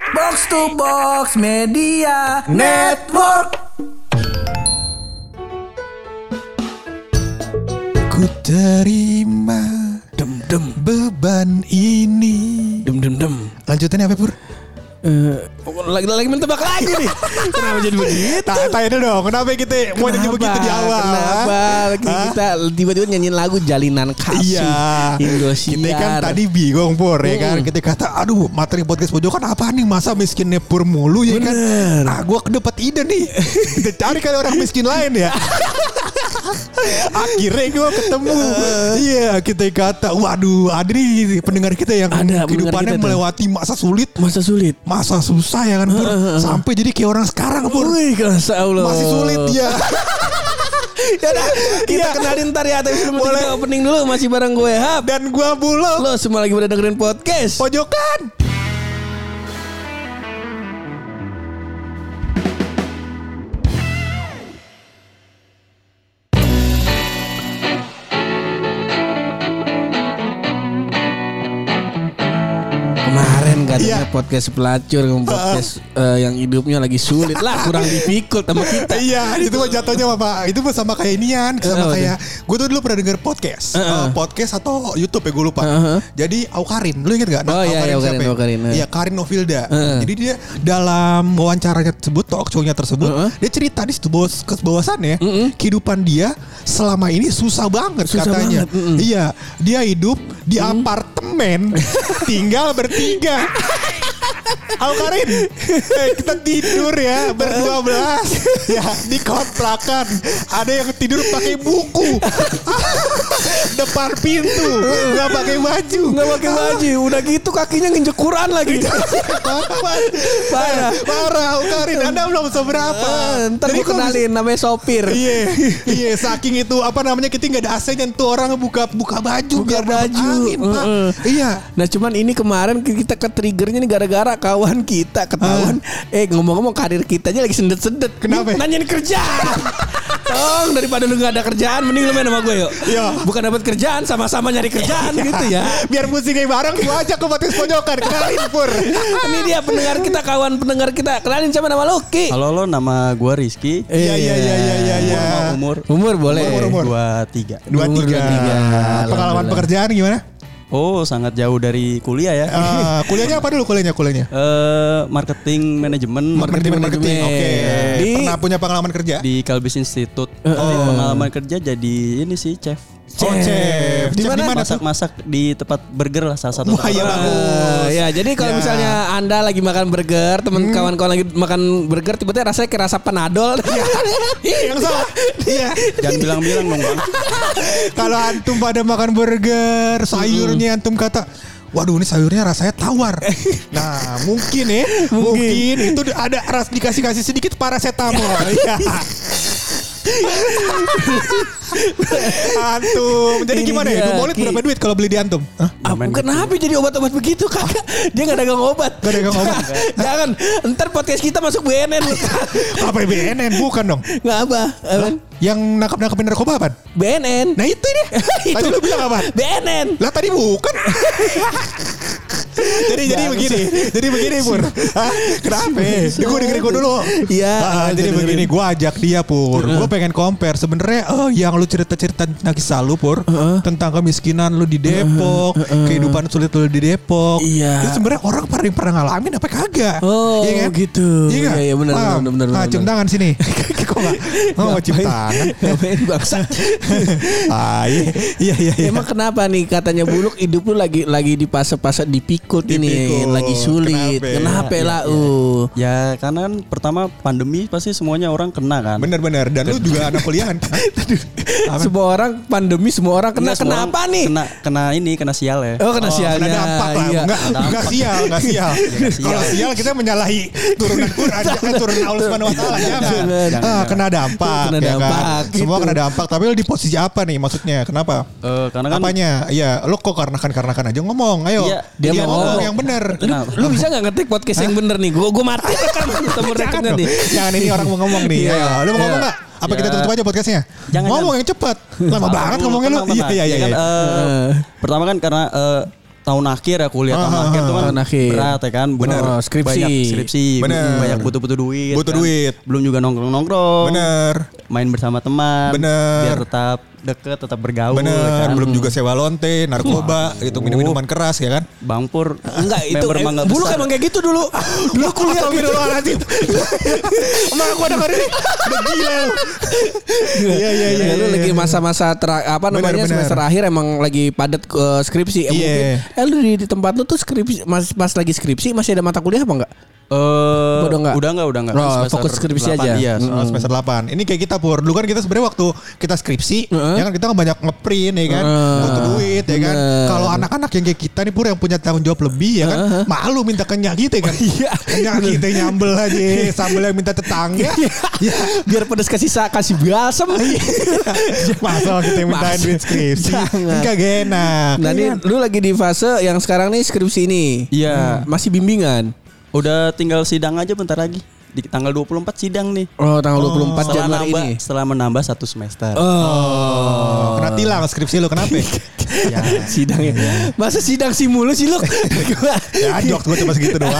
Box to Box Media Network. Ku terima Dem dem beban ini. dem dem dem. Lanjutannya apa Pur? Lagi lagi mentebak lagi nih. Kenapa jadi begitu? Ta- Tanya dulu dong, kenapa kita mau nyanyi Kenapa? begitu di awal? ah. Kenapa? Hah? Kita tiba-tiba nyanyiin lagu Jalinan Kasih. Iya. Indosiar. Hmm. Kita kan tadi bingung Pur ya kan. Kita kata aduh materi podcast pojokan apa nih masa miskinnya Pur mulu ya kan. Bener. Ah gua kedapat ide nih. Kita cari kali orang miskin lain ya. Akhirnya gua ketemu Eh. Iya kita kata Waduh ada nih pendengar kita yang Ada, pendengar Kehidupannya kita tuh. melewati masa sulit masa sulit. Masa susah ya kan Pur Sampai jadi kayak orang sekarang Pur Wih, Masya Allah. Masih sulit ya Ya udah, kita Iya. kenalin ntar ya. Tapi sebelum Boleh. kita opening dulu masih bareng gue Hap. Dan gua bulog Lo semua lagi pada dengerin Oh, podcast. Pojokan Kemarin katanya Iya. podcast pelacur, podcast eh, yang hidupnya lagi sulit lah, kurang difficult sama kita. Iya itu mah jatuhnya apa Pak Itu mah sama kayak inian Kenapa Sama kayak gitu. Gue tuh dulu pernah denger podcast Heeh. Eh, Podcast atau Youtube ya gue lupa Heeh. Jadi Aukarin Lu inget gak Eh, Oh, iya, iya, Aukarin, siapa ya? Aukarin, eh. Iya Karin Novilda Heeh. Jadi dia dalam wawancaranya tersebut Talk show-nya tersebut Heeh. Dia cerita di situ bahwa- ke bawasannya Eh, Kehidupan dia selama ini susah banget Susah katanya banget, eh, mm-mm. Iya Dia hidup di apartemen Tinggal bertiga Aukarin eh, kita tidur ya berdua belas ya di kontrakan ada yang tidur pakai buku depan pintu nggak pakai baju Nggak pakai baju, udah gitu kakinya nginjek Quran lagi. Apa? Iya. Parah. parah Aukarin anda belum seberapa Eh, Ntar Jadi gue kok bisa- kenalin namanya sopir. Iya, iya saking itu apa namanya kita nggak ada AC-nya tuh orang buka buka baju Buka dapat baju, angin, Pak. heeh. Iya, Nah cuman ini kemarin kita ke triggernya nih gara-gara kawan kita ketahuan. Eh ngomong-ngomong karir kita aja lagi sendet-sendet. Kenapa ya? Ini Nanyain kerjaan. Tong daripada lu gak ada kerjaan mending lu main sama gue yuk. Iya. Bukan dapat kerjaan sama-sama nyari kerjaan gitu ya. biar musiknya bareng gua ajak ke podcast pojokan kenalin pur. Ini dia pendengar kita kawan pendengar kita. Kenalin sama nama Loki. Halo lo nama gua Rizky. Iya, iya, iya, iya, iya, iya. Umur Eh, Umur boleh. Umur, umur. dua tiga. dua Umur tiga. 23. Pengalaman Alhamdulillah. pekerjaan gimana? Oh sangat jauh dari kuliah ya. Eh Eh, kuliahnya apa dulu kuliahnya kuliahnya? marketing manajemen Marketing, marketing. Oke. Di- Pernah punya pengalaman kerja? di Kalbis Institute. Eh, Tapi pengalaman kerja jadi ini sih chef. Oh, chef. Di Chef mana? di mana tuh? Masak-masak di tempat burger lah salah satu. Wah, iya, tempat. bagus. Eh, ya Hmm. jadi kalau Ya. misalnya anda lagi makan burger temen kawan-kawan lagi makan burger tiba-tiba rasanya kayak rasa panadol Yang salah. Iya. Jangan bilang-bilang dong bang. Kalau antum pada makan burger, sayurnya antum kata Waduh ini sayurnya rasanya tawar. Nah mungkin ya, mungkin, itu ada ras dikasih kasih sedikit paracetamol. Iya. antum, jadi Ini gimana ya? dia, Dua molit Ki. berapa duit kalau beli di antum? Hah? Ah, kenapa jadi obat-obat begitu kakak? Dia Ah. nggak dagang obat. Iya. Nggak dagang obat. Jangan. Ntar podcast kita masuk BNN. Apa ya, BNN bukan dong? Nggak apa. Apaan? Yang nangkap-nangkapin narkoba apa? BNN. Nah itu dia. Tadi lu bilang apa? BNN. Lah tadi bukan. jadi jadi Bagus. begini, jadi begini Pur. Hah? Kenapa? Gue dengerin gue dulu. Iya, Ah, jadi dengerin. begini, gue ajak dia Pur. Gue pengen compare. Sebenarnya eh, yang lu cerita cerita tentang kisah lu Pur, tentang kemiskinan lu di Depok, kehidupan sulit lu di Depok. Iya. Itu sebenarnya orang pada yang pernah ngalamin apa kagak? Oh, Iya kan? gitu. Iya kan? Iya, iya, benar, Paham? benar, benar, Nah, benar, cium benar. tangan sini. Kok nggak? Oh, cium Ngapain? tangan. Ngapain bangsa? Ah, iya, iya, iya. iya. Emang kenapa nih katanya buluk hidup lu lagi lagi di fase-fase dipikul ini, Dipikul. lagi sulit. Kenapa? Kenapa Iya, lah? Uh. Ya karena kan pertama pandemi pasti semuanya orang kena kan. Benar-benar dan lu juga anak kuliahan. Apa? Semua orang pandemi, semua orang kena. Iya, Enggak, semua kenapa orang nih? Kena kena ini kena sial ya. Eh. Oh kena sialnya. Kena dampak lah. Iya. Enggak, enggak sial, enggak sial. enggak sial. Kalau sial kita menyalahi turunan Quran, jangan turunan Allah Subhanahu wa taala jangan. Jangan, Ah, kena dampak. Kena ya kan? dampak, Semua gitu. kena dampak. Tapi lu di posisi apa nih maksudnya? Kenapa? Eh, karena kan Apanya? Iya, lu kok karena kan karena kan aja ngomong. Ayo. Iya, dia Jadi mau ngomong ngomong. yang benar. Lu, lu bisa nggak ngetik podcast yang bener nih? Gue gue mati kan temen Jangan rekennya dong. nih. Jangan ini orang mau ngomong nih. Iya. Ayo, lu mau Iya. ngomong enggak? Apa kita Iya. tutup aja podcastnya? Jangan, ngomong jangan. yang cepat. Lama banget Dulu, Oh, ngomongnya lu. tenang, Iya, tenang. iya, Ya iya. kan, iya. eh, Heeh. Pertama kan karena eh, tahun akhir ya kuliah tahun Ah, akhir tuh kan tahun akhir. berat ya kan Bener. Oh, skripsi. banyak skripsi Bener. banyak butuh-butuh duit Butuh kan. duit. belum juga nongkrong-nongkrong Bener. main bersama teman Bener. biar tetap deket tetap bergaul Bener, kan. belum juga sewa lonte, narkoba, gitu minum-minuman keras ya kan? Bang Pur Enggak itu member em- Mangga dulu Besar. emang kayak gitu dulu. dulu kuliah gitu. Emang aku ada hari ini udah gila. lu. Iya iya iya. Lu iya, lagi iya. masa-masa ter- apa Benar, namanya benar. semester akhir emang lagi padat ke skripsi. Eh, Iya. mungkin, eh lu di, di tempat lu tuh skripsi mas, pas lagi skripsi masih ada mata kuliah apa enggak? Eh, Udah nggak? udah enggak, udah enggak. Oh, fokus skripsi aja. Hmm. Iya, Oh, semester 8 Ini kayak kita pur Dulu kan kita sebenarnya waktu kita skripsi Heeh. Ya kan kita banyak ngeprint ya kan Heeh. Butuh duit ya kan Bener. Kalau anak-anak yang kayak kita nih pur Yang punya tanggung jawab lebih ya kan Malu minta kenyang kita kan Iya. Kenyang kita nyambel aja Sambel yang minta tetangga Iya. Biar pedes kasih sa kasih biasa Iya. Masa kita yang minta Masa. duit skripsi Jangan. Enggak enak Nah, ini lu lagi di fase yang sekarang nih skripsi ini. Iya. Masih bimbingan. Udah tinggal sidang aja bentar lagi. Di tanggal 24 sidang nih. Oh, tanggal 24 Setelah Januari nambah, ini. setelah menambah satu semester. Oh, Kena tilang skripsi lo kenapa Iya. Ya, sidangnya. Masa sidang sih mulu sih lu? Ya jokes gue cuma segitu doang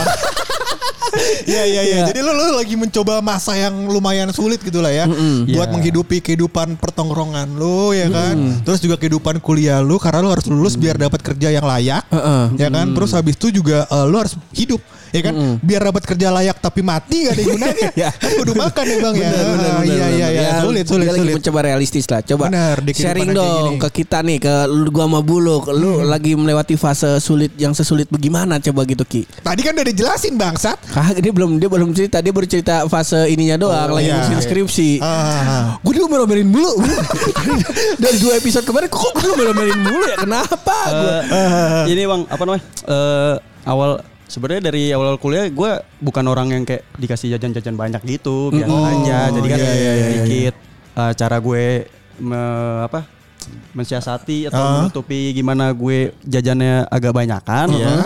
Iya Ya. iya iya. Jadi lo, lo lagi mencoba masa yang lumayan sulit gitu lah ya. Buat Iya. menghidupi kehidupan pertongkrongan lo ya kan. Terus juga kehidupan kuliah lo karena lo harus lulus biar dapat kerja yang layak. Heeh. Ya kan? Terus habis itu juga eh, lo harus hidup ya kan? Biar dapat kerja layak tapi mati gak ada gunanya. Iya. Kan kudu makan ya Bang ya. Benar, benar, Ah, benar, Iya benar. iya iya. Ya, Sulit dia sulit lagi sulit. mencoba realistis lah. Coba Benar, di kehidupan sharing yang kayak dong gini. Hmm. ke kita nih, ke lu- gua sama Bulu. Ke Lu lagi melewati fase sulit yang sesulit bagaimana coba gitu Ki. Tadi kan udah dijelasin bangsat. Kah, dia belum dia belum cerita, dia baru cerita fase ininya doang, lagi iya. ngurusin skripsi. Ah. Gue dulu melomelin mulu Dari dua episode kemarin Kok gue melomelin mulu ya Kenapa Ah. gua? Eh, ini Bang, apa namanya? Eh, awal sebenarnya dari awal kuliah gue bukan orang yang kayak dikasih jajan-jajan banyak gitu, biasa Oh, aja. Jadi kan iya, iya, iya, dikit eh, cara gue me- apa? mensiasati atau Ah. menutupi gimana gue jajannya agak banyakan Iya. ya.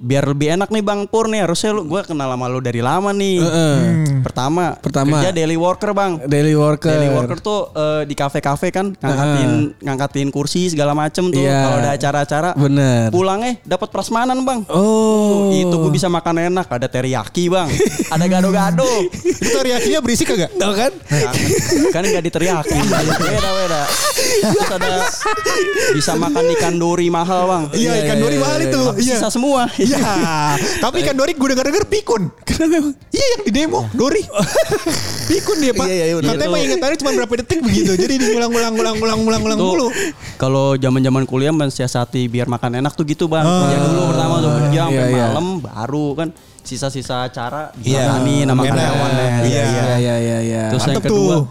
Biar lebih enak nih Bang Pur nih, harusnya lu gue kenal sama lu dari lama nih. Hmm. Pertama, Pertama. kerja daily worker, Bang. Daily worker Daily worker tuh eh, di kafe-kafe kan ngangkatin ngangkatin kursi segala macem tuh. Iya. Kalau ada acara-acara Bener. pulangnya dapat prasmanan, Bang. Oh Itu gue bisa makan enak, ada teriyaki, Bang. ada gado-gado. Itu reaksinya berisik kagak? Tau kan kan enggak diteriyaki. Beda, beda. Terus ada bisa makan ikan dori mahal, Bang. Iya, ikan iya, dori iya, mahal iya. itu. Iya. Sisa semua. Iya, tapi ikan Dori gue denger-denger pikun. Kenapa emang? Iya yang di demo Dori. pikun dia pak. Iya, iya, bener. Katanya Itu- mah ingetannya cuma berapa detik begitu. Jadi diulang-ulang, ulang-ulang, ulang-ulang Tuh, mulu. kalau zaman-zaman kuliah mensiasati biar makan enak tuh gitu bang. ya Ah. dulu pertama tuh kerja sampai iya, iya. malam baru kan sisa-sisa acara Iya. ditangani nama Enak. karyawannya. Iya. Iya iya iya iya Terus yang Mantep kedua, tuh.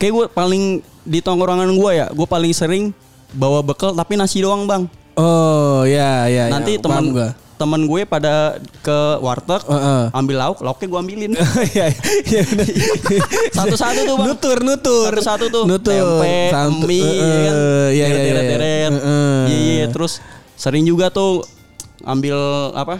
kayak gue paling di tongkrongan gue ya, gue paling sering bawa bekal tapi nasi doang bang. Oh ya ya ya, Nanti paham teman gua. teman gue pada ke warteg Heeh. ambil lauk, lauknya gue ambilin. Iya iya bener. Satu-satu tuh bang. Nutur nutur Satu-satu tuh. Nutur Tempe, Santu- mie, Eh, ya kan. eh, Iya iya iya Eh, Deret-deret-deret. Iya, eh. iya. Terus sering juga tuh ambil apa?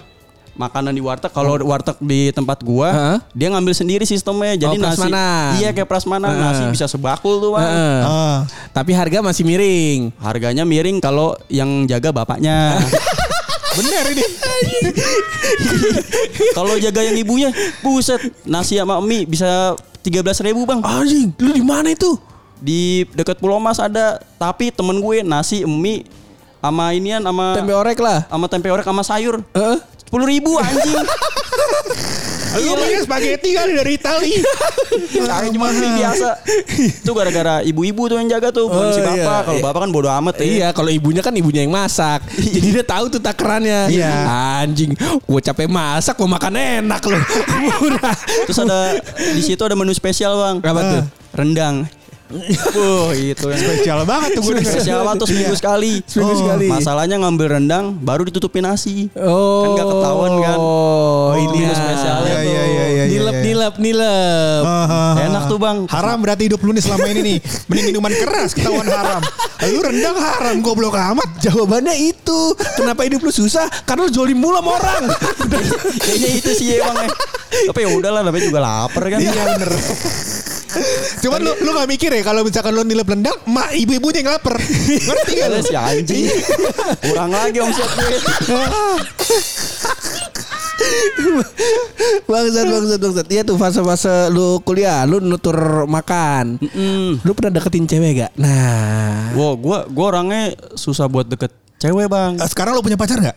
Makanan di warteg kalau Oh. warteg di tempat gua Heeh. dia ngambil sendiri sistemnya jadi Oh, nasi prasmanan. iya kayak prasmanan Heeh. nasi bisa sebakul tuh Eh, Bang. eh. Ah. Tapi harga masih miring harganya miring kalau yang jaga bapaknya Bener ini. kalau jaga yang ibunya buset nasi sama mie bisa 13.000 ribu bang Anjing Lu di mana itu di dekat Pulau Mas ada tapi temen gue nasi mie sama inian sama Tempe orek lah sama tempe orek sama sayur Heeh. sepuluh ribu anjing Lu pakai Iya, spaghetti kali dari Itali. Cari cuma beli biasa Itu gara-gara ibu-ibu tuh yang jaga tuh Oh, Bukan si iya. bapak Kalau bapak kan bodo amat ya Iya, kalau ibunya kan ibunya yang masak. Iya. Jadi dia tahu tuh takarannya. Iya. Anjing, gue capek masak, gue makan enak loh. Murah. Terus ada di situ ada menu spesial bang Ah. Apa tuh? Rendang Wah itu yang Spesial banget tuh gue denger. Spesial banget tuh seminggu sekali Iya. Oh. Seminggu sekali. Masalahnya ngambil rendang Baru ditutupin nasi Oh. Kan gak ketahuan kan Oh, Itu ini menu spesialnya Iya, tuh iya, iya, iya, iya, Nilep, iya. nilep, nilep. Ah, ah, ah. Enak tuh, Bang. Haram berarti hidup lu nih selama ini nih. Mending minuman keras ketahuan haram. Lu rendang haram goblok amat. Jawabannya itu. Kenapa hidup lu susah? Karena lu jolim mulu sama orang. ya Kayaknya itu sih emang ya. Tapi ya udahlah namanya juga lapar kan Iya bener. Cuman lu, lu gak mikir ya kalau misalkan lu nilai rendang, mak ibu-ibunya yang lapar. Ngerti gak lu? Ada Iya, kan? si anjing. Iya. Kurang lagi omset gue. bangsat bangsat bangsat iya tuh fase-fase lu kuliah lu nutur makan lu pernah deketin cewek gak nah Wow, Hmm. gua gua orangnya susah buat deket cewek, Bang. Eh, Sekarang lu punya pacar gak?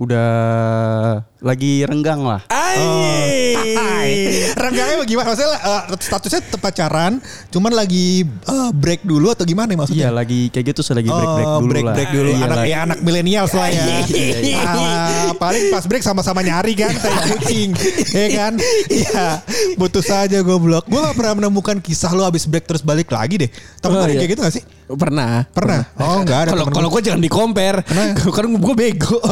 Udah lagi renggang lah. Oh. Ay. Renggangnya gimana? Maksudnya eh, statusnya tetap pacaran, cuman lagi eh, break dulu atau gimana maksudnya? Iya, lagi kayak gitu saya lagi Oh, break-break dulu lah. break dulu. Iya, anak lagi- ya anak milenial lah ya. Iya, iya. Alah, paling pas break sama-sama nyari kan tai kucing. ya kan? Iya. Butuh saja goblok. Gue gak pernah menemukan kisah lo abis break terus balik lagi deh. Tapi Oh, ada iya. kayak gitu gak sih? pernah Pernah? Oh enggak ada. kalau temen kalau gua. gue jangan di compare kan gue bego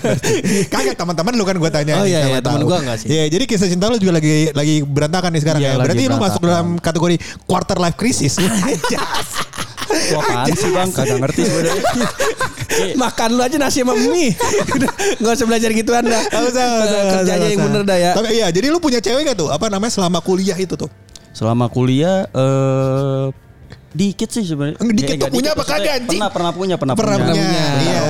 kagak teman-teman lu kan gue Oh, tanya. iya, Siapa iya, temen tahu. gua nggak sih? Iya, jadi kisah cinta lu juga lagi lagi berantakan nih sekarang Iya, ya. lagi Berarti lu masuk berantakan. dalam kategori quarter life crisis. Anjas. Wah, apaan sih, Bang? Kagak ngerti sebenarnya. makan lu aja nasi sama mie Udah, nggak usah belajar gitu anda Gak usah, gak usah, gak kerjanya usah. yang bener dah ya Tapi iya, jadi lu punya cewek gak tuh? Apa namanya selama kuliah itu tuh? Selama kuliah eh dikit sih sebenarnya. Iya, Enggak, dikit Ya, tuh enggak punya apa maksudnya kagak, anjing? Pernah pernah punya, pernah, Pernah punya. punya. Iya.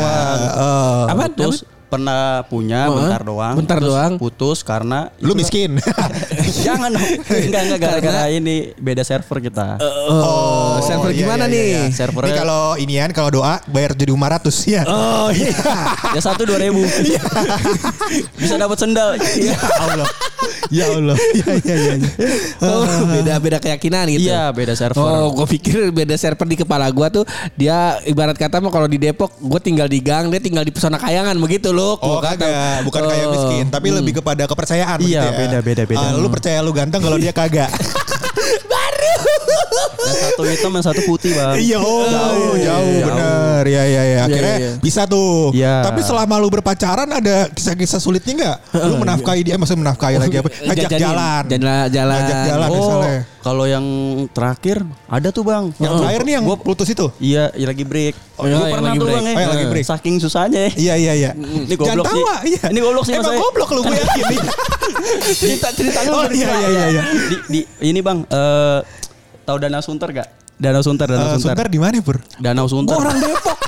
Eh, apa Terus pernah punya Oh, bentar doang. bentar Terus doang. Putus karena Eh, lu miskin. Jangan dong. Enggak enggak gara-gara ini beda server kita. Eh. oh, server iya, gimana iya, nih ya. iya, iya. Servernya- Ini kalau inian kalau doa bayar jadi 500 ya. oh iya Ya satu dua ribu. Iya. Bisa dapat sendal. iya. Ya Allah. Ya Allah. Ya ya ya. ya. Oh, beda beda keyakinan gitu Iya Oh, beda server. gue pikir beda server di kepala gua tuh dia ibarat kata mah kalau di Depok gue tinggal di gang, dia tinggal di pesona kayangan begitu loh. Oh, kagak, bukan kayak miskin, tapi lebih kepada kepercayaan. begitu Iya, ya. beda, beda, beda. Ah, lu percaya lu ganteng kalau dia kagak. Yang satu hitam yang satu putih bang. Iya, oh, jauh, Iya, jauh, jauh. bener. Ya, ya, ya. Akhirnya iya. bisa tuh. Iya. Tapi selama lu berpacaran ada kisah-kisah sulitnya nggak? Lu menafkahi dia, maksudnya menafkahi lagi apa? Ngajak Jajanin. iya, jalan. Jalan- jalan. Ngajak jalan Oh misalnya. kalau yang terakhir ada tuh bang. Yang Gua- terakhir nih yang gua- putus itu. Iya, iya lagi break. Oh, Gua iya, yang pernah lagi tuh break. bang ya. Oh, yang lagi break. Saking susahnya ya. Iya, iya, iya. Ini Jangan goblok sih. tawa, iya. Ini goblok sih, Mas Emang saya. goblok lu gue yakin. iya. cerita cerita lu. Oh, iya, iya, iya. iya. Di, di- ini bang, eh tahu Danau Sunter gak? Danau Sunter, Danau Eh, Sunter. Sunter di mana, Pur? Danau Sunter. orang Depok.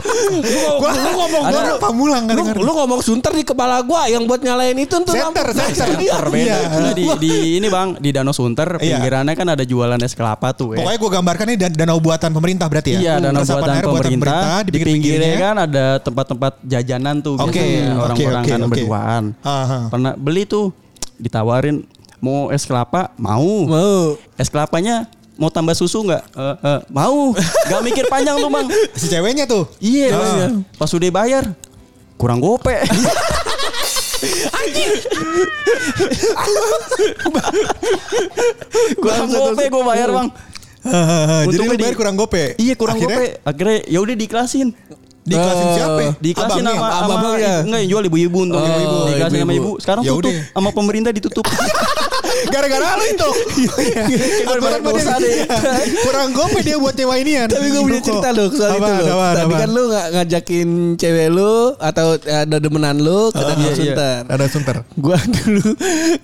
Gua lu ngomong Ada gua orang lu- Pamulang kan lu, lu ngomong sunter di kepala gua yang buat nyalain itu tuh. Center, lampu. center. Iya. Terbeda. Nah, di, di ini bang, di Danau Sunter Iya. pinggirannya kan ada jualan es kelapa tuh. ya. Pokoknya gue gambarkan ini dan- danau buatan pemerintah berarti ya. Iya, danau Resapan buatan air di pemerintah. Di pinggirnya pinggir-pinggirnya. kan ada tempat-tempat jajanan tuh Oke, biasanya oke, orang-orang oke, kan oke. berduaan. Aha. Ah. Pernah beli tuh ditawarin mau es kelapa mau. Mau. Es kelapanya mau tambah susu nggak? Eh, eh, mau. Gak mikir panjang tuh bang. Si ceweknya tuh. Iya. Ah. Bang. Pas udah bayar kurang gope. kurang gope gue bayar bang. Ah, Jadi Untungnya lu bayar di- kurang gope. Iya kurang Akhirnya gope. Akhirnya ya udah diklasin. Dikelasin Eh, siapa? Dikasih Abangnya. nama abang- abang sama ya? ibu- enggak yang jual ibu-ibu Oh, untung ibu-ibu. Dikasih nama ibu-ibu. ibu. Sekarang Ya tutup udah. sama pemerintah ditutup. Iya, Gara-gara lu itu. Gue Aturan banyak mah dosa dia- deh. Kurang gope dia buat nyewa inian. Tapi gue punya cerita loh soal itu loh. Tadi kan lu nggak ngajakin cewek lu atau eh, ada demenan lu ke Danau iya, iya. Sunter. ada sunter. Gua dulu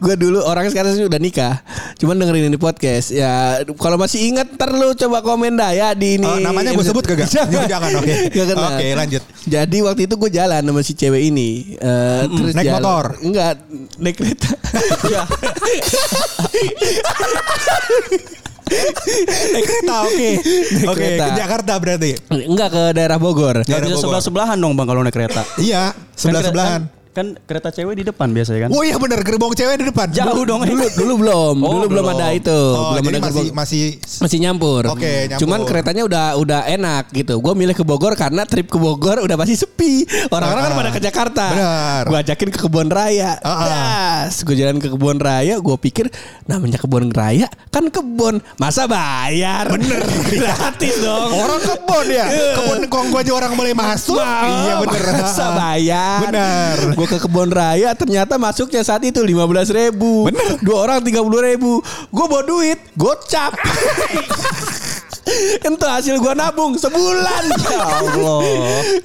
gua dulu orang sekarang sih udah nikah. Cuman dengerin ini podcast. Ya kalau masih ingat ntar lu coba komen dah ya di ini. Oh, namanya gue sebut kagak? Jangan, jangan, oke. Nggak kenal. Oke, lanjut. Jadi waktu itu gue jalan sama si cewek ini. Eh, terus naik jalan- motor? Enggak, naik kereta. Iya. Naik Nah, kereta oke. Naik Oke, kereta. ke Jakarta berarti. Iya, Enggak ke daerah Bogor. Gak bisa Bogor. sebelah-sebelahan dong Bang kalau naik kereta. Kan Iya, sebelah-sebelahan. kereta- Kan, kan kereta cewek di depan biasanya kan. Oh iya bener gerbong cewek di depan. Jauh dong. Dulu dulu belum, Oh, dulu belum belum. ada itu, eh. Oh, belum jadi ada masih gerbong. masih masih nyampur. Oke, nyampur. Cuman keretanya udah udah enak gitu. Gue milih ke Bogor karena trip ke Bogor udah pasti sepi. Orang-orang kan Ah, pada ke Jakarta. benar. Gue ajakin ke kebun raya. Ah, ah. Das, gue jalan ke kebun raya. Gue pikir namanya kebun raya kan kebun masa bayar. Bener. Gratis dong. Orang kebon ya. Kebun kongko aja orang boleh masuk. Wah, iya bener. Masa bayar. Bener. Gue ke kebun raya ternyata masuknya saat itu 15 ribu. Bener. Dua orang 30 ribu. Gue bawa duit. Gocap. Itu hasil gua nabung sebulan. Ya Allah.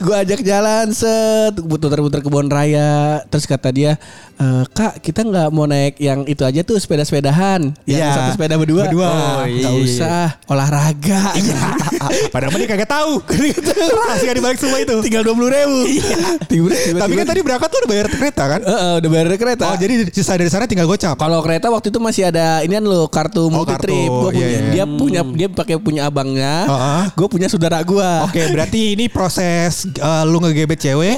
gua ajak jalan set putar-putar kebun raya terus kata dia e, kak kita nggak mau naik yang itu aja tuh sepeda-sepedahan yang Iya. satu sepeda berdua Berdua. Iya. Oh, nggak iya. usah olahraga Padahal mah dia kagak tahu. Rahasia di balik semua itu. tinggal dua puluh ribu Tapi kan tadi berangkat tuh udah bayar kereta kan? udah bayar kereta Oh jadi sisa dari sana tinggal gocap. kalau kereta waktu itu masih ada ini kan lo kartu multi kartu. trip Gua Iya, punya iya. dia punya dia pakai punya abangnya Heeh. gue punya saudara gua Oke, berarti ini proses eh, lu ngegebet cewek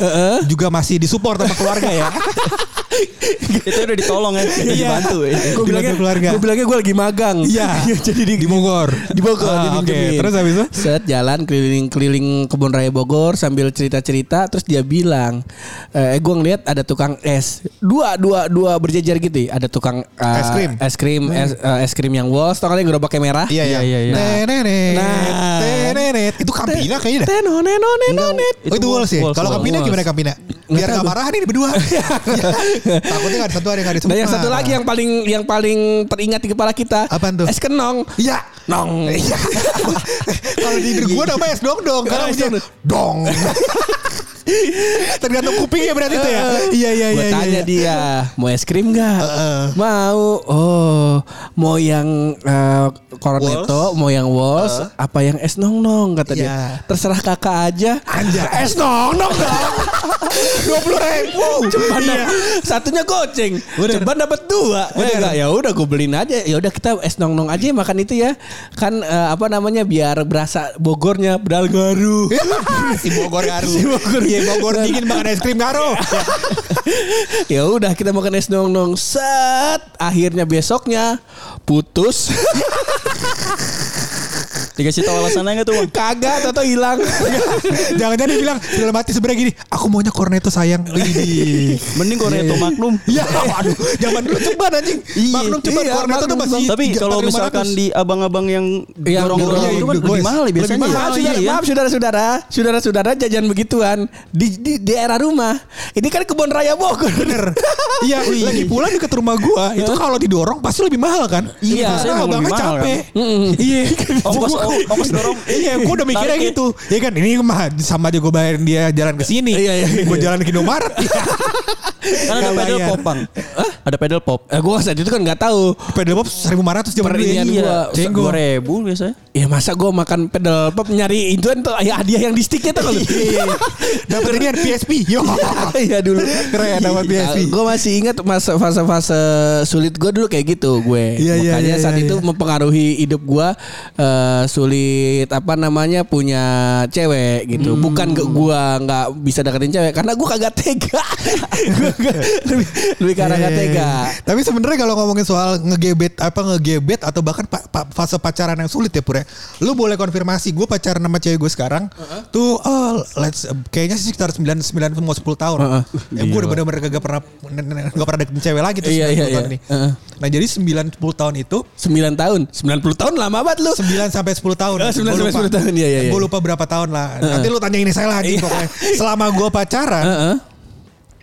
juga masih disupport sama keluarga ya. Itu udah ditolong ya, udah dibantu ya. Gue bilangnya, keluarga. gue bilangnya gue lagi magang. Gitu jadi di, Bogor. di Bogor Ah, dia Oke, minjemin. terus habis itu? set jalan keliling-keliling kebun raya Bogor sambil cerita-cerita terus dia bilang eh gue ngeliat ada tukang es dua dua dua berjejer gitu ya. ada tukang eh, Es krim. Hmm. es krim es, eh, es krim yang walls tau kali gerobaknya merah Iya, iya, iya. Iya, iya, iya. Tenenet, Nah. tenenet. Itu Kampina kayaknya dah. Teno, neno, neno, net. Oh itu Wolves ya? Wolves, Kalau Wolves. Kampina gimana Kampina? Biar tahu gak gua. marah nih berdua. Takutnya gak ada satu ada yang gak ada semua. Dan Nah, yang satu lagi yang paling yang paling teringat di kepala kita Apaan tuh? es kenong Iya. nong Iya. Iya. Kalau di gue namanya es dong dong. Karena Oh, es bunyinya dong. Tergantung kupingnya berarti itu ya. Iya iya Eh, Gua iya. iya, tanya iya. Eh, dia mau es krim nggak? Heeh. Mau. Oh, mau yang eh, cornetto, mau yang walls, apa yang es nong nong kata dia. Eh. Iya. Terserah kakak aja. Anjay. Es nong nong dong. Dua puluh ribu. Iya. Ceban satunya goceng. Ceban dapat dua. Eh, enggak, ya udah gue beliin aja. Ya udah kita es nong nong aja yang makan itu ya. Kan eh, apa namanya biar berasa Bogornya pedal garu. si Bogor garu. Si Bogor. Iya Bogor dingin makan es krim garu. Iya. ya udah kita makan es nong nong set akhirnya besoknya putus Dikasih tahu alasannya enggak tuh, Bang? kagak atau hilang Jangan-jangan dia bilang dalam hati sebenarnya gini, aku maunya cornetto sayang. Wih. Mending Cornetto Magnum. Ya, waduh, zaman dulu ceban anjing. Iya, Magnum ceban iya, cornetto tuh Magnum. masih Tapi kalau misalkan di abang-abang yang Yang dorong-dorong dorong, itu kan lebih goes. mahal ya Lebih biasanya. mahal, maaf, saudara, Iya, iya. maaf saudara-saudara, saudara-saudara jajan begituan di, di daerah rumah. Ini kan kebun raya Bogor. bener. Iya, lagi pula dekat rumah gua itu kalau didorong pasti lebih mahal kan? Iya, biasanya saya emang lebih abangnya mahal, capek. kan? Iya, Ongkos- Gua- ong- ongkos dorong. Iya, gua udah mikirnya Tarik ya. gitu. Ya kan, ini mah sama aja gua bayarin dia jalan ke sini. Iya, iya, Gua jalan ke Indomaret. Kan ada Nggak pedal bayar. pop, Bang. Ada pedal pop. Eh, gua saat itu kan nggak tahu. Pedal pop 1500 zaman dulu ya. Perinian Iya, gua, dua ribu biasanya. Ya masa gua makan pedal pop nyari itu tuh ya, hadiah yang di sticknya tuh kalau. Dapat ini kan PSP. Yo. Iya dulu Keren dapat PSP. Gue Nah, masih ingat masa fase-fase sulit gue dulu kayak gitu gue. Iya, iya, Makanya iya, saat iya, itu iya. mempengaruhi hidup gue eh, sulit apa namanya punya cewek gitu. Hmm. Bukan ke gue nggak bisa deketin cewek karena gue kagak tega. gue lebih, lebih karena Iya, kagak tega. Eh, Tapi sebenarnya kalau ngomongin soal ngegebet apa ngegebet atau bahkan pa- pa- fase pacaran yang sulit ya Pur ya. Lu boleh konfirmasi gue pacaran sama cewek gue sekarang tuh oh, let's kayaknya sih sekitar 9 9 mau 10 tahun. Heeh. Eh, gue udah bener-bener kagak pernah gak pernah deketin cewek lagi tuh Iya, 9 iya, tahun iya. ini. Heeh. Nah, jadi 9 10 tahun itu 9 tahun, 90 tahun lama banget lu. 9 sampai 10 tahun. Eh, 9 sampai 10 tahun, iya, iya, iya. Gue lupa berapa tahun lah. Nanti lu tanya ini saya lagi pokoknya. Selama gue pacaran, Heeh.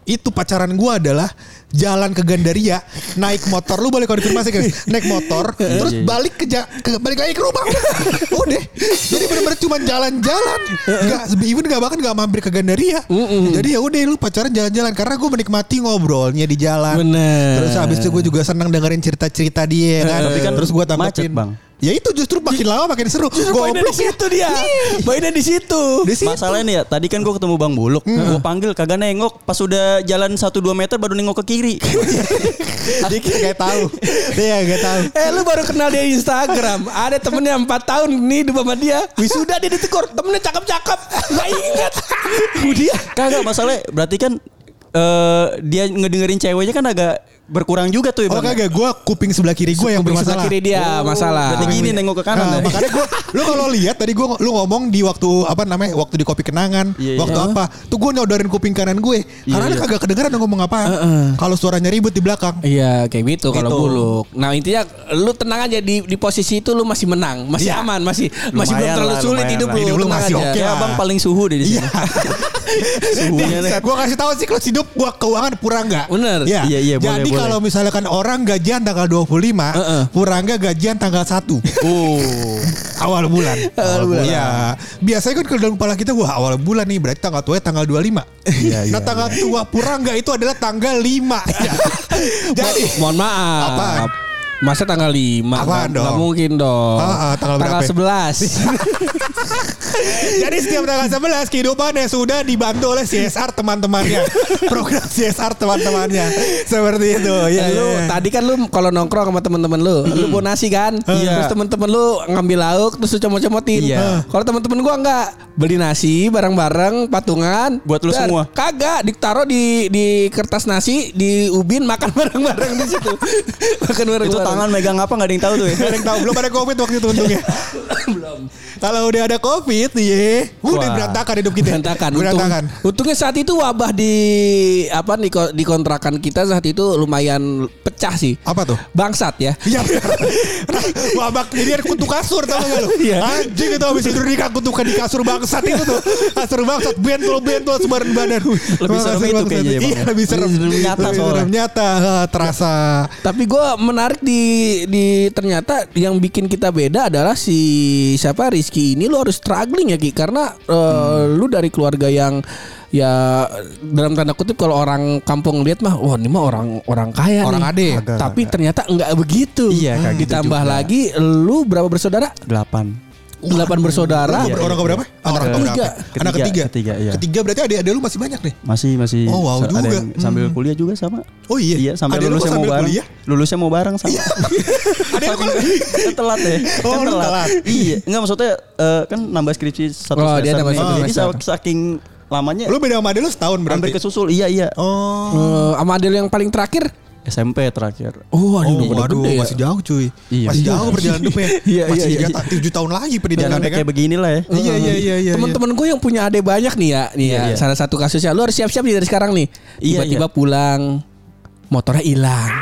itu pacaran gua adalah jalan ke Gandaria naik motor lu boleh konfirmasi guys naik motor Iya, terus balik ke, ja- ke- balik lagi ke rumah udah jadi bener-bener cuma jalan-jalan nggak even nggak bahkan nggak mampir ke Gandaria jadi ya udah lu pacaran jalan-jalan karena gua menikmati ngobrolnya di jalan Bener. terus habis itu gua juga senang dengerin cerita-cerita dia kan Tapi kan terus gua tanggapin macet, Bang. ya itu justru makin lama makin seru gua Mainnya di oblong ya situ dia. Mainnya di situ. di situ. Masalahnya nih ya, tadi kan gue ketemu Bang Buluk, Hmm. gue panggil kagak nengok, pas udah jalan 1-2 meter baru nengok ke kiri. dia kayak tahu dia kayak tahu Eh lu baru kenal dia di Instagram Ada temennya 4 tahun nih hidup sama dia Wisuda dia ditegur Temennya cakep-cakep Gak ingat Dia Kagak masalahnya, berarti kan eh, dia ngedengerin ceweknya kan agak berkurang juga tuh ya Oh Bang. kagak gue kuping sebelah kiri gue yang Kuping sebelah bermasalah. kiri dia masalah Berarti gini nengok ke kanan Nah, ya. makanya gue lu kalau lihat tadi gue lu ngomong di waktu apa namanya waktu di kopi kenangan Iya, iya. waktu apa tuh gue nyodorin kuping kanan gue karena dia Iya, kagak kedengeran dia ngomong apa kalau suaranya ribut di belakang Iya kayak gitu kalau Gitu. buluk Nah intinya lu tenang aja di, di posisi itu lu masih menang Masih Iya. aman Masih masih belum Lumayan terlalu lah, sulit lumayan hidup lah. lu Hidup lu tenang masih aja. oke. Kayak lah. abang paling suhu deh di sini. Iya. Suhunya deh. Gue kasih tahu siklus hidup gue keuangan pura enggak. Bener. Ya. Iya, iya, boleh, Jadi boleh. kalau misalkan orang gajian tanggal 25, Heeh. pura enggak gajian tanggal 1. Oh. awal bulan. Awal bulan. Iya. Biasanya kan kalau dalam kepala kita wah awal bulan nih berarti tanggal tua ya tanggal 25. Iya, iya, nah tanggal tua pura enggak itu adalah tanggal 5. Ya. Jadi Mo- mohon maaf. Apaan? Masa tanggal 5 Apaan dong? mungkin dong. Ah, ah, tanggal berapa ya? 11. Jadi setiap tanggal 11 kehidupannya sudah dibantu oleh CSR teman-temannya. Program CSR teman-temannya. Seperti itu. Iya, Ya, lu ya, ya. tadi kan lu kalau nongkrong sama teman-teman lu, lu bonasi kan? Iya. Terus teman-teman lu ngambil lauk terus lu comot-comotin. Iya. Heeh. Kalau teman-teman gua enggak beli nasi bareng-bareng patungan Buat lu Dan semua. Kagak, ditaruh di di kertas nasi, di ubin makan bareng-bareng di situ. makan bareng-bareng. Itu tangan megang apa nggak ada yang tahu tuh ya. Gak ada yang tahu belum ada covid waktu itu untungnya. belum. Kalau udah ada covid, iya. Udah Wah. berantakan hidup kita. berantakan. Untung- Berantakan. untungnya saat itu wabah di apa di, ko- di kontrakan kita saat itu lumayan pecah sih. Apa tuh? Bangsat ya. Iya bener. Wabak jadi ada kutu kasur tau gak lu Iya. Anjing itu habis tidur nikah kutukan di kasur bangsat itu tuh Kasur bangsat bentol-bentol sebaran badan Lebih serem Kasur itu bangsat. kayaknya ya, Bang. Iya lebih serem Lebih serem nyata Lebih soalnya. serem nyata Ah, Terasa Tapi gua menarik di di ternyata yang bikin kita beda adalah si siapa Rizky ini lu harus struggling ya Ki karena eh, Hmm. lu dari keluarga yang ya dalam tanda kutip kalau orang kampung lihat mah wah ini mah orang orang kaya Orang nih. ade. Tapi ternyata enggak begitu. Iya, kayak gitu Ditambah juga. lagi lu berapa bersaudara? Delapan. Delapan bersaudara. iya. Orang- Orang keberapa? Orang Ketiga. keberapa? Anak ketiga Ketiga, ketiga, iya. Ketiga berarti ada ada lu masih banyak nih Masih masih Oh, wow ada juga. Hmm. yang sambil kuliah juga sama. Oh iya. Iya, Ada sampai lu lulusnya mau sambil bareng. kuliah? Iya. Lulusnya mau bareng sama. Ada yang kalau Kan telat ya. Oh, kan lu telat. iya, enggak maksudnya eh, kan nambah skripsi satu Oh, semester. dia nambah nih. satu Jadi semester. sak- saking lamanya Lu beda sama ade lu setahun Iya. hampir berarti kesusul. Iya, iya. Oh Eh, sama Adele yang paling terakhir. SMP terakhir. Oh, Oh, udah waduh, gede ya. masih jauh cuy. Iya. Masih jauh perjalanan hidupnya. Iya, masih iya, tiga iya. ta- tujuh tahun lagi Jangan pendidikannya kan. kayak beginilah ya. Iya, iya, iya, iya. Temen-temen gue yang punya adik banyak nih ya, nih ya. Iya, iya. Salah satu kasusnya lu harus siap-siap nih dari sekarang nih. Iya, Tiba-tiba iya. pulang motornya hilang.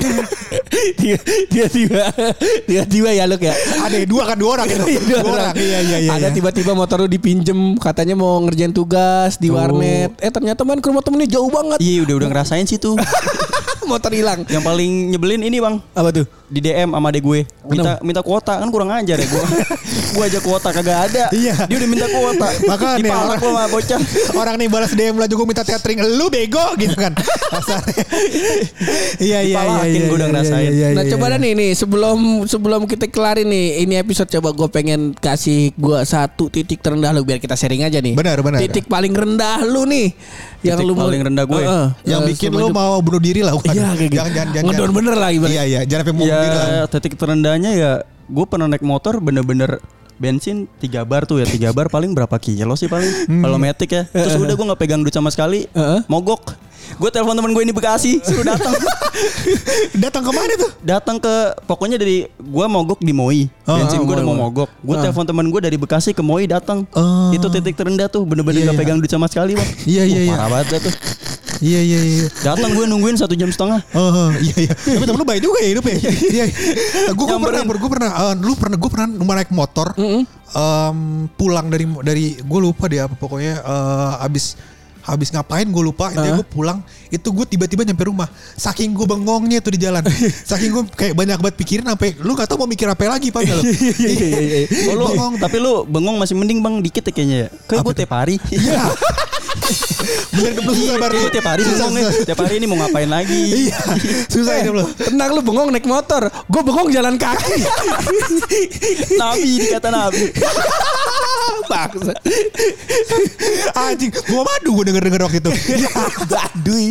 tiba-tiba tiba-tiba ya lu ya. ada dua kan dua orang gitu. Dua dua orang. orang. Iya iya iya. Ada iya. tiba-tiba motor lu dipinjem katanya mau ngerjain tugas di warnet. Eh ternyata main ke rumah temennya jauh banget. Iya, udah udah ngerasain sih tuh. motor hilang. Yang paling nyebelin ini, Bang. Apa tuh? Di DM sama adek gue minta minta kuota kan kurang ajar ya gue. gue aja kuota kagak ada. Iya. ya. Dia udah minta kuota. Makanya. dipalak lu sama bocah. Orang nih balas DM lah juga minta teatering lu bego gitu kan. Kasarnya. Iya iya iya. Dipalakin iya, gua udah iya, ngerasain. iya, iya, nah iya, coba iya. dah nih nih sebelum sebelum kita kelarin nih ini episode coba gue pengen kasih gue satu titik terendah lu biar kita sharing aja nih. Benar, benar. Titik paling rendah lu nih Titik mau- paling rendah gue. Heeh. Yang Eh, bikin selama lu hidup. mau bunuh diri lah. bukan? Iya kayak gitu. Jangan jangan jangan. Ngedown jangan. bener lah ibarat. Iya iya. Jangan sampai mau bunuh diri lah. Ya titik terendahnya ya gue pernah naik motor bener-bener bensin 3 bar tuh ya 3 bar paling berapa kilo sih paling Hmm. kalau metik ya terus Eh, udah gue nggak pegang duit sama sekali Heeh. mogok gue telepon temen gue ini Bekasi suruh datang Datang kemana tuh? datang ke pokoknya dari gue mogok di Moi Ah, bensin ah, gue udah Moi, mau Moi. mogok gue telepon temen gue dari Bekasi ke Moi datang Ah. itu titik terendah tuh bener-bener Iya, nggak iya. pegang duit sama sekali bang Iya, iya, Wah, iya. parah banget dah tuh Iya iya iya. datang gue nungguin satu jam setengah Oh, iya iya. Tapi temen lu baik juga ya hidupnya. Iya. Gue Nyamperin. pernah, gue pernah, eh, lu pernah, gue pernah naik motor, em, pulang dari dari gue lupa deh apa pokoknya eh, abis habis ngapain gue lupa itu gue pulang itu gue tiba-tiba nyampe rumah saking gue bengongnya tuh di jalan saking gue kayak banyak banget pikirin sampai lu gak tau mau mikir apa lagi pak Iya, lu Oh, lu, bengong tapi lu bengong masih mending bang dikit ya kayaknya ya. Kayak gue tiap hari. Iya. bener bener susah Kayak banget gua tiap hari susah, bengongnya. susah. Tiap hari ini mau ngapain lagi? iya susah Eh, hidup lu Tenang lu bengong naik motor. Gue bengong jalan kaki. Nabi dikata Nabi. Bangsa. anjing gua madu gue denger denger waktu itu Iya. baduy.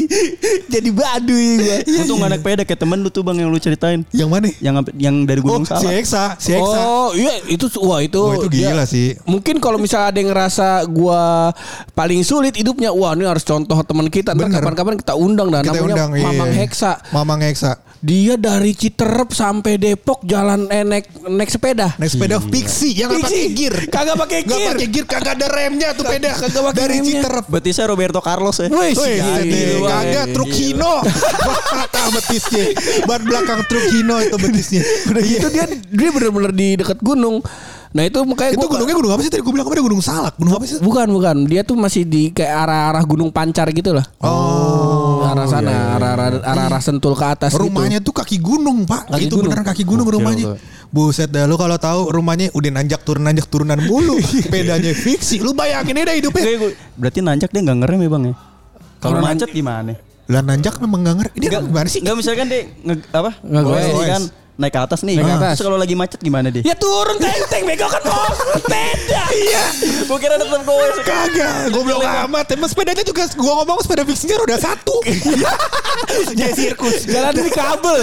Jadi baduy gue. Untung gak naik peda kayak temen lu tuh bang yang lu ceritain. yang mana Yang ngampe- yang dari Oh, Gunung si Salak. Oh, iya. Eksa, si Eksa. Oh iya itu wah itu Wah, itu gila sih. Mungkin kalau misalnya ada yang ngerasa gua paling sulit hidupnya, wah ini harus contoh teman kita. Ntar Bener. kapan-kapan kita undang dan Kita namanya undang iya. Mamang Heksa. Mamang Heksa. Dia dari Citerep sampai Depok jalan eh, naik naik sepeda. Naik sepeda Pixie yang nggak pakai Fiksi. gear. Kagak pakai Nggak gear. pakai gear, kagak ada remnya tuh peda. Kagak pakai Dari remnya. Citerep. Betisnya Roberto Carlos ya. Wih, Iya, Wih, gila, sedih. gila. kagak truk Hino. Patah betisnya. Ban belakang truk Hino itu betisnya. Iya. Udah gitu dia dia bener-bener di dekat gunung. Nah itu makanya Itu gua- gunungnya gunung apa sih tadi gue bilang kemarin gunung salak. Gunung apa sih? Bukan bukan dia tuh masih di kayak arah-arah gunung pancar gitu lah. Oh. arah sana, arah-arah arah-arah sentul ke atas gitu. Rumahnya tuh kaki gunung, Pak. Kaki itu gunung. beneran kaki gunung rumahnya. Buset dah lu kalau tahu rumahnya udah nanjak turun nanjak turunan mulu. Iya. Pedanya fiksi. Lu bayangin aja dah hidupnya. Oke, gua- Berarti nanjak dia nggak ngerem ya bang ya? Kalau macet gimana? Lah nanjak memang gak ngerti. Ini gimana sih? Nggak misalkan dia nge- apa? Ngegoes. Ngegoes kan naik ke atas nih. Ah, Naik ke Terus atas. kalau lagi macet gimana dia? Ya turun tenteng bego kan bos. Beda. Iya. Gua kira ada tetap goes. Kagak, goblok amat. Emang sepedanya juga gua ngomong sepeda fiksinya roda satu. Jadi sirkus. Jalan di kabel.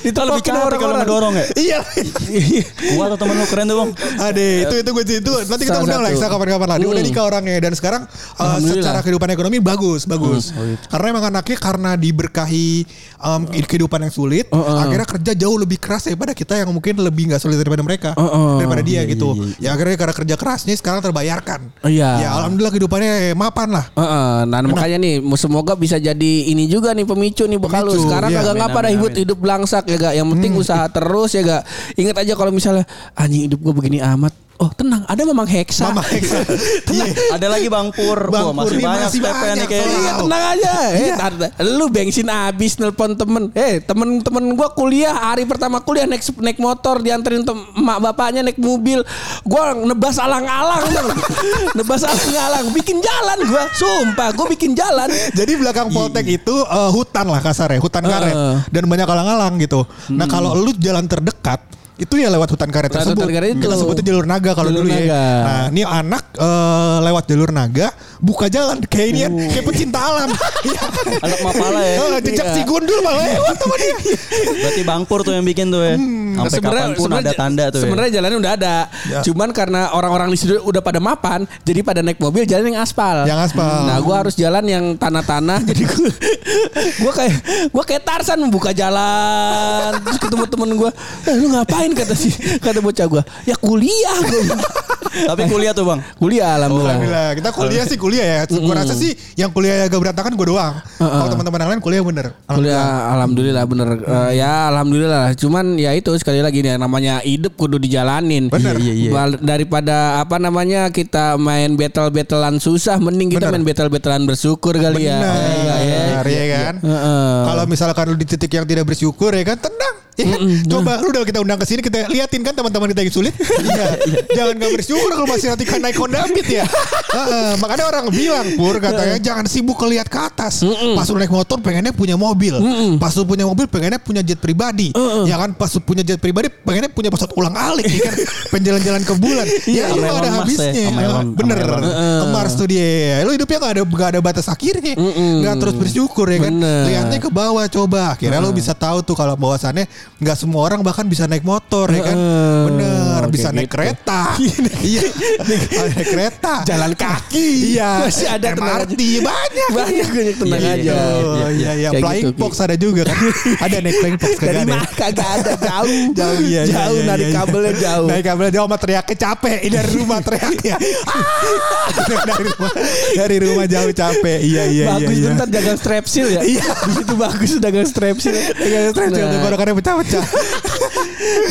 Itu lebih Ditopokin cantik kalau orang-orang. mendorong ya. Iya. Gua atau temen lu keren tuh bang. Ade, itu itu gue itu nanti kita Salah undang lah satu. Hmm. Eksa kapan-kapan lah. Dia udah nikah orangnya dan sekarang uh, Alhamdulillah. Hmm, secara kehidupan ekonomi bagus, bagus. Karena emang anaknya karena diberkahi um, kehidupan yang sulit, Hmm, akhirnya kerja jauh lebih keras daripada kita yang mungkin lebih nggak sulit daripada mereka, Oh, oh. daripada dia gitu. Ya akhirnya karena kerja kerasnya sekarang terbayarkan. Iya. Ya alhamdulillah kehidupannya eh, mapan lah. Heeh, nah makanya nih semoga bisa jadi ini juga nih pemicu nih bekal lu. Pemicu, Sekarang iya. kagak Amin, ngapa amin, dah hidup amin. hidup belangsak ya gak. Yang penting usaha terus ya gak. Ingat aja kalau misalnya anjing hidup gue begini amat. Oh tenang ada Mamang Heksa. Mama Eksa. Iya. Ada lagi Bang Pur. Bang Wah, Pur, masih ini banyak masih stepnya nih banyak. kayaknya. Iya Wow. tenang aja. Eh, tar- lu bensin habis nelpon temen. Eh temen-temen gua kuliah hari pertama kuliah naik sep- naik motor dianterin tem- emak bapaknya naik mobil. Gua nebas alang-alang Bang. nebas alang-alang bikin jalan gua. Sumpah gua bikin jalan. Jadi belakang Iya. Poltek itu eh, hutan lah kasarnya, hutan karet Heeh. dan banyak alang-alang gitu. Nah, kalau lu jalan terdekat itu ya lewat hutan karet Hmm. Lewat tersebut. hutan karet itu. Kita sebutnya jalur naga kalau Jalur dulu naga. ya. Nah, ini anak eh, lewat jalur naga buka jalan kayak ini Uh. kan, kayak pecinta alam. Iya. Anak mapala ya. Eh, Jejak Iya. si gundul malah ya. lewat sama dia. Berarti Bang Pur tuh yang bikin tuh ya. Hmm. Nah, Sampai kapanpun ada tanda tuh ya. Sebenarnya jalannya udah ada. Ya. Cuman karena orang-orang di situ udah pada mapan, jadi pada naik mobil jalan yang aspal. Yang aspal. Nah, gua harus jalan yang tanah-tanah. jadi gua, gua kayak gua kayak Tarsan membuka jalan. Terus ketemu temen gua, eh, "Lu ngapain?" kata si kata bocah gua. "Ya kuliah gua." Tapi kuliah tuh Bang. kuliah alhamdulillah. Oh, Alhamdulillah. Nah, Kita kuliah sih kuliah ya. Gue rasa sih yang kuliah agak berantakan gue doang. Kalau teman-teman yang lain kuliah bener. Kuliah alhamdulillah bener Eh, ya alhamdulillah cuman ya itu sekali lagi nih yang namanya hidup kudu dijalanin Bener. Iya, iya, iya. Bal- daripada apa namanya kita main battle battlean susah mending kita Bener. main battle battlean bersyukur kali ya Ya, iya, iya. Benar, ya kan. Heeh. Kalau misalkan lu di titik yang tidak bersyukur ya kan tenang. Ya kan? Coba lu udah kita undang ke sini kita liatin kan teman-teman kita yang sulit. Iya. Jangan gak bersyukur kalau masih nanti kan naik Honda Beat ya. Heeh, makanya orang bilang Pur katanya jangan sibuk ngeliat ke atas. Pas lu naik motor pengennya punya mobil. Pas lu punya mobil pengennya punya jet pribadi. Ya kan pas lu punya jet pribadi pengennya punya pesawat ulang alik ya kan. Penjalan-jalan ke bulan. Ya, Iya, itu sama ada Elon Musk ya, habisnya. sama Elon- Bener. sama Elon. Ke Mars tuh dia. ya, Lu hidupnya gak ada gak ada batas akhirnya. Gak terus bersyukur ya kan. Bener. Lihatnya ke bawah coba. Akhirnya lu bisa tahu tuh kalau bahwasannya nggak semua orang bahkan bisa naik motor ya kan. Heeh. Bener. Kayak Bisa naik gitu. kereta. Iya. Naik kereta. Jalan kaki. Iya. Masih ada MRT banyak. banyak banyak tenang Iya, aja iya, Oh iya iya Kayak flying gitu, Ki. fox ada juga kan. ada naik flying fox dari kagak ada. ya? mana kagak ada jauh Jauh iya, iya, jauh iya, dari iya, iya. kabelnya jauh Dari kabelnya jauh sama teriaknya capek Ini dari rumah teriaknya. Ah! dari rumah dari rumah jauh capek. Iya iya iya. bagus iya. bentar dagang strepsil ya Iya. di situ bagus dagang strepsil Dengan stres Nah. nah. tenggorokannya pecah-pecah.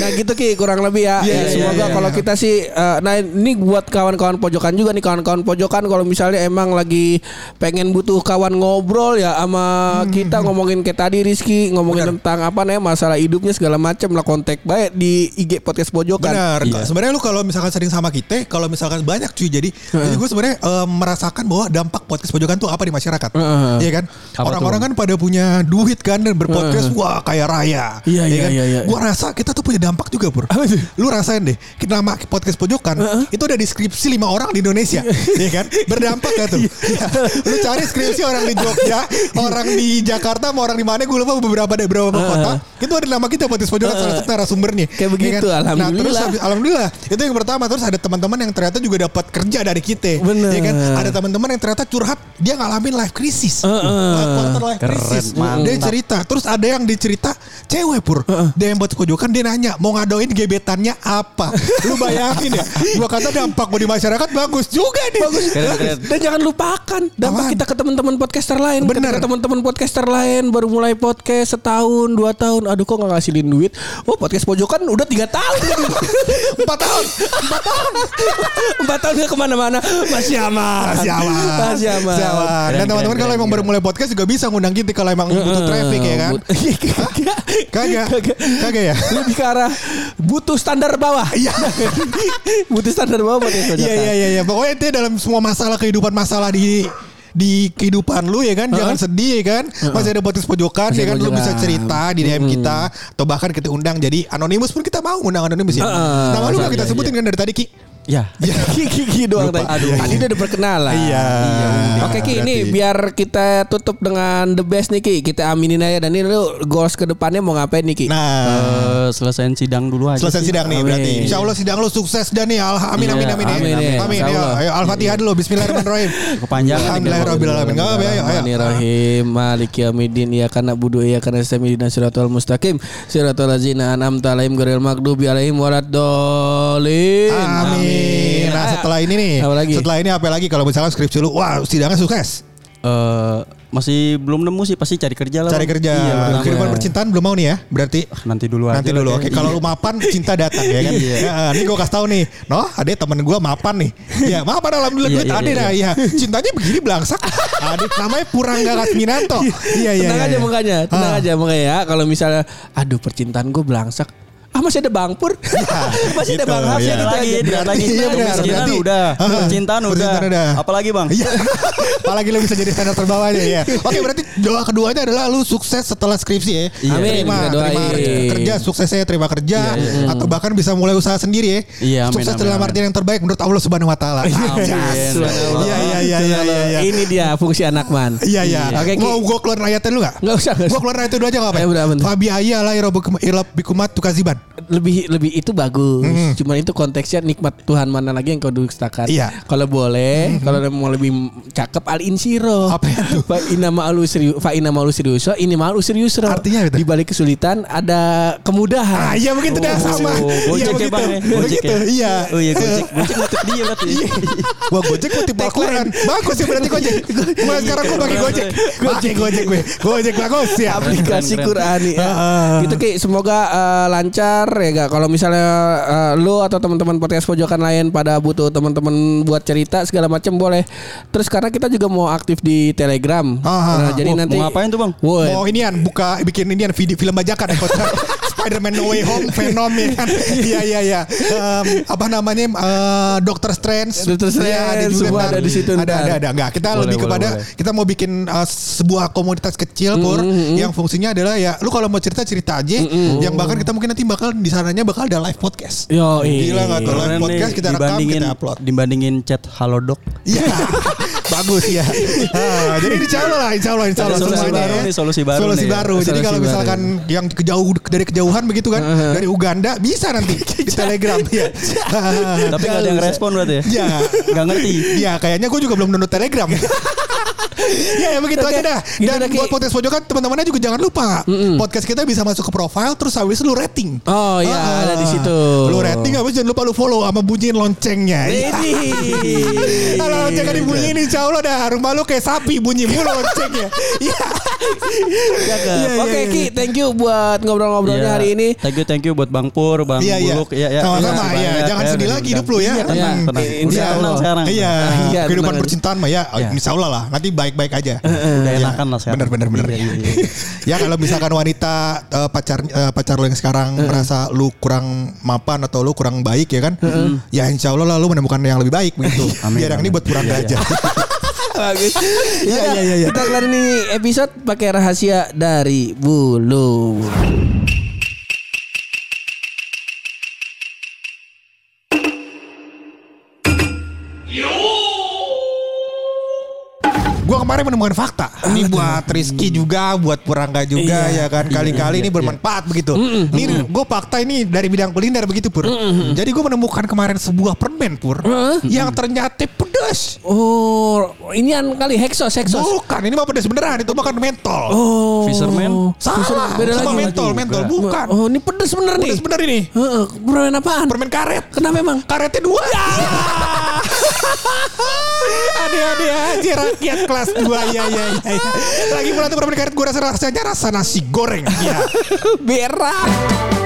Nah gitu Ki kurang lebih ya. Iya, Ya, iya, semoga iya, kalau iya. kita sih eh, nah ini buat kawan-kawan pojokan juga nih kawan-kawan pojokan kalau misalnya emang lagi pengen butuh kawan ngobrol ya sama Hmm. kita ngomongin kayak tadi Rizky ngomongin tentang apa nih masalah hidupnya segala macam lah kontak baik di IG podcast pojokan. Benar. Sebenarnya lu kalau misalkan sering sama kita, kalau misalkan banyak cuy jadi, jadi gue sebenarnya eh, merasakan bahwa dampak podcast pojokan tuh apa di masyarakat. Heeh. Iya kan? Orang-orang kan pada punya duit kan dan berpodcast wah kaya raya. Iya, iya, kan? iya, iya. Gua rasa kita tuh punya dampak juga, Pur. Apa tuh? Lu rasain deh. Kita nama podcast pojokan itu ada di skripsi lima orang di Indonesia, iya kan? Berdampak gak tuh? Iya. Lu cari skripsi orang di Jogja, Iya. orang di Jakarta, sama orang di mana gue lupa beberapa deh beberapa kota. Itu ada nama kita podcast pojokan salah satu narasumbernya. Kayak Iya begitu, Nah, terus alhamdulillah. habis- Alhamdulillah. Itu yang pertama terus ada teman-teman yang ternyata juga dapat kerja dari kita. Bener. Ya kan? Ada teman-teman yang ternyata curhat dia ngalamin life crisis. Uh, quarter life Keren, crisis. mantap. Dia cerita, terus ada yang dicerita cewek pur. Dia yang buat pojokan dia nanya mau ngadoin gebetannya apa. Wah, lu bayangin ya. Gua kata dampak gua di masyarakat bagus juga nih. Bagus. Keren, keren. Dan jangan lupakan dampak Apaan? kita ke teman-teman podcaster lain. Bener. Ketika teman-teman podcaster lain baru mulai podcast setahun, dua tahun. Aduh kok nggak ngasilin duit. Oh podcast pojokan udah tiga tahun. Empat tahun. Empat tahun. Empat tahun nggak kemana-mana. Masih aman. Masih aman. Masih aman. Masih aman. Dan Keren, teman-teman keren, kalau keren, emang baru mulai podcast juga bisa ngundang kita kalau emang Eh, butuh traffic ya kan. Kagak. Kagak ya. Iya, Lebih ke arah butuh standar bawah. Iya. butuh standar bawah podcast pojokan. Iya iya iya iya. Pokoknya itu dalam semua masalah kehidupan masalah di di kehidupan lu ya kan jangan sedih ya kan masih ada podcast pojokan Masih ya kan ada lu bisa pojokan. Hmm. cerita di DM kita atau bahkan kita undang jadi anonimus pun kita mau undang anonimus ya Heeh. nama lu Iya, gak kita iya, sebutin kan dari tadi Ki Ya. Gigi doang tadi. Lupa. Aduh. Tadi udah diperkenalan. Iya. Iya, Oke Ki, berarti. ini biar kita tutup dengan the best nih Ki. Kita aminin aja dan ini lu goals ke depannya mau ngapain nih Ki? Nah, nah Eh, selesaiin sidang dulu aja. selesai sih. sidang nih Amin. berarti insya Allah sidang lu sukses dan nih Alha- amin Iya, amin amin amin, amin amin. amin Insya ayo Allah. ayo Al-Fatihah dulu Bismillahirrahmanirrahim Kepanjangan nih, Alhamdulillahirrahmanirrahim Gak apa-apa ayo ayo Bismillahirrahmanirrahim Maliki yamidin Ya kana budu Ya kana istamidin Siratul mustaqim Siratul lazina An'amta alaihim Garil magdubi alaihim Waladolin Amin. Nah setelah ini nih, Apa lagi? setelah ini apa lagi kalau misalnya skripsi lu, wah sidangnya sukses. Eh, masih belum nemu sih pasti cari kerja lah. Cari Bang. kerja, Iya, benar. kehidupan percintaan belum mau nih ya, berarti iya. Nanti dulu aja. nanti lah, dulu. ya. Oke, kalau lu mapan cinta datang ya kan. Nah, ini gue kasih tahu nih, noh ada temen gue mapan nih. Ya mapan alhamdulillah Iya, duit iya, ada iya. dah. Iya, cintanya begini belangsak. Ada namanya Purangga Kasminanto. Iya iya. Ah, tenang iya, aja iya. makanya, tenang Ah. aja makanya ya. Kalau misalnya, aduh percintaan gue belangsak. Ah masih ada Bang Pur, masih ada gitu, Bang Hap, ya, iya. gitu Dilihat lagi, aja. dilihat lagi. Iya, benar, Kemiskinan berarti. udah, Ah, percintaan udah. percintaan udah. Apalagi bang? Iya. Apalagi lu bisa jadi standar terbawahnya ya. Oke berarti doa keduanya adalah lu sukses setelah skripsi ya. Iya. Amin, Terima, kita doain. terima kerja, Iya, kerja suksesnya terima kerja atau bahkan bisa mulai usaha sendiri ya. Iya, amin, sukses amin, dalam amin. Iya. artian yang terbaik menurut Allah Subhanahu wa taala. Yes. Subhanallah. Iya iya iya iya iya. iya. Ya Ini dia fungsi anak man. Iya iya. Oke, Ki. Mau gua keluarin ayatnya lu enggak? Nggak usah, nggak usah. Gua keluarin ayat itu dulu aja enggak Eh, Ya, udah, apa-apa. bentar. Fabi ya, ayya la bikumat tukaziban. lebih lebih itu bagus. Mm-hmm. Cuman itu konteksnya nikmat Tuhan mana lagi yang kau dustakan. Iya. Kalau boleh, kalau mau lebih cakep al insiro. Apa itu? Fa inna ma'alu serius, fa inna ma'alu seriuso, ini ma'alu seriusro. Artinya apa di itu? balik kesulitan ada kemudahan. Ah iya begitu dah sama. Oh, Iya, Gojek ya begitu. bang ya. Gojek Begitu. ya. Iya. Oh iya gojek. Gojek ngutip dia berarti. ya? Wah Gojek kutip Al-Quran Bagus ya berarti Gojek Mulai sekarang gue pakai Gojek Pakai Gojek gue Gojek bagus ya aplikasi Keren, keren. Qurani Ah, ya. Gitu Ki, semoga eh, lancar ya gak. Kalau misalnya eh, lu atau teman-teman podcast pojokan lain pada butuh teman-teman buat cerita segala macam boleh. Terus karena kita juga mau aktif di Telegram. Ah, Nah, jadi Mau- nanti mau ngapain tuh, Bang? Woy, Mau inian buka bikin inian video film bajakan ya, Spider-Man No Way Home Venom ya kan Iya iya iya Em, Apa namanya eh, Doctor Strange Doctor Strange, Iya, semua ntar. ada di situ Ada ntar. ada ada Enggak kita Boleh, lebih boleh, kepada boleh. Kita mau bikin eh, sebuah komunitas kecil Mm-hmm, Pur Yang fungsinya adalah ya Lu kalau mau cerita cerita aja Mm-hmm. Yang bahkan kita mungkin nanti bakal di sananya bakal ada live podcast Yoi. Gila gak tuh live Keren podcast nih, kita rekam dibandingin- kita upload Dibandingin chat halodoc. Iya Bagus ya Ah, Jadi insya Allah lah Insya Allah insya Allah Ada solusi semuanya baru ya. nih, solusi baru Solusi nih. baru Jadi Solusi kalau baru. misalkan Yang kejauh dari kejauhan begitu kan Dari Uganda Bisa nanti Di telegram Iya. ya Tapi gak ada yang respon berarti ya. Ya Gak ngerti. Ya kayaknya gue juga belum download telegram Ya, ya begitu Oke, aja dah. gitu Dan Iya, dah, Ki. buat podcast pojokan teman-temannya juga jangan lupa podcast kita bisa masuk ke profile terus habis lu rating. Oh iya, Ah, ada di situ. Nah, Lu rating habis jangan lupa lu follow sama bunyiin loncengnya. Iya. Iya. Ini. Kalau loncengnya kan dibunyiin insya Allah dah rumah lu kayak sapi bunyi mulu loncengnya. Iya. Jaga. Iya, iya, Oke iya. Ki, thank you buat ngobrol-ngobrolnya Iya. hari ini. Thank you thank you buat Bang Pur, Bang Iya, iya. Buluk. Iya, Sama-sama, Makasih iya. banyak Jangan ya, sedih udah lagi diundang. hidup lu ya. Iya, tenang, Tenang. tenang. Insya Udah tenang Allah. sekarang. Nah, Iya. Iya, Kehidupan tenang. percintaan mah ya Iya. insya Allah lah nanti baik-baik aja. Udah Iya. enakan lah sekarang. Bener bener bener. Iya, iya, iya. ya kalau misalkan wanita eh, pacar eh, pacar lu yang sekarang merasa lu kurang mapan atau lu kurang baik ya kan, ya insya Allah lah lu menemukan yang lebih baik begitu. Amin, Biar yang ini amin. buat kurang Iya, aja. Bagus. Iya, Ya, iya, iya, iya. Kita kelar ini episode pakai rahasia dari Bulu. Gua kemarin menemukan fakta. Ini buat Rizky Hmm. juga, buat Purangga juga Iya. ya kan. Kali-kali ini bermanfaat begitu. Hmm, Ini gue fakta ini dari bidang kuliner begitu Pur. hmm. Jadi gue menemukan kemarin sebuah permen Pur yang ternyata pedas. Oh, ini an kali heksos, heksos. Bukan, ini mah pedas beneran. Itu bukan mentol. Oh. Fisherman? Salah, beda lagi. sama mentol, mentol. Bukan. Oh, ini pedes bener nih. Pedas bener ini. Heeh, permen apaan? Permen karet. Kenapa emang? Karetnya dua. Ya. Ada-ada aja rakyat kelas 2 ya ya ya. Iya. ya. Lagi pula tuh permen karet gue rasa rasanya rasa nasi goreng. Ya. Berak.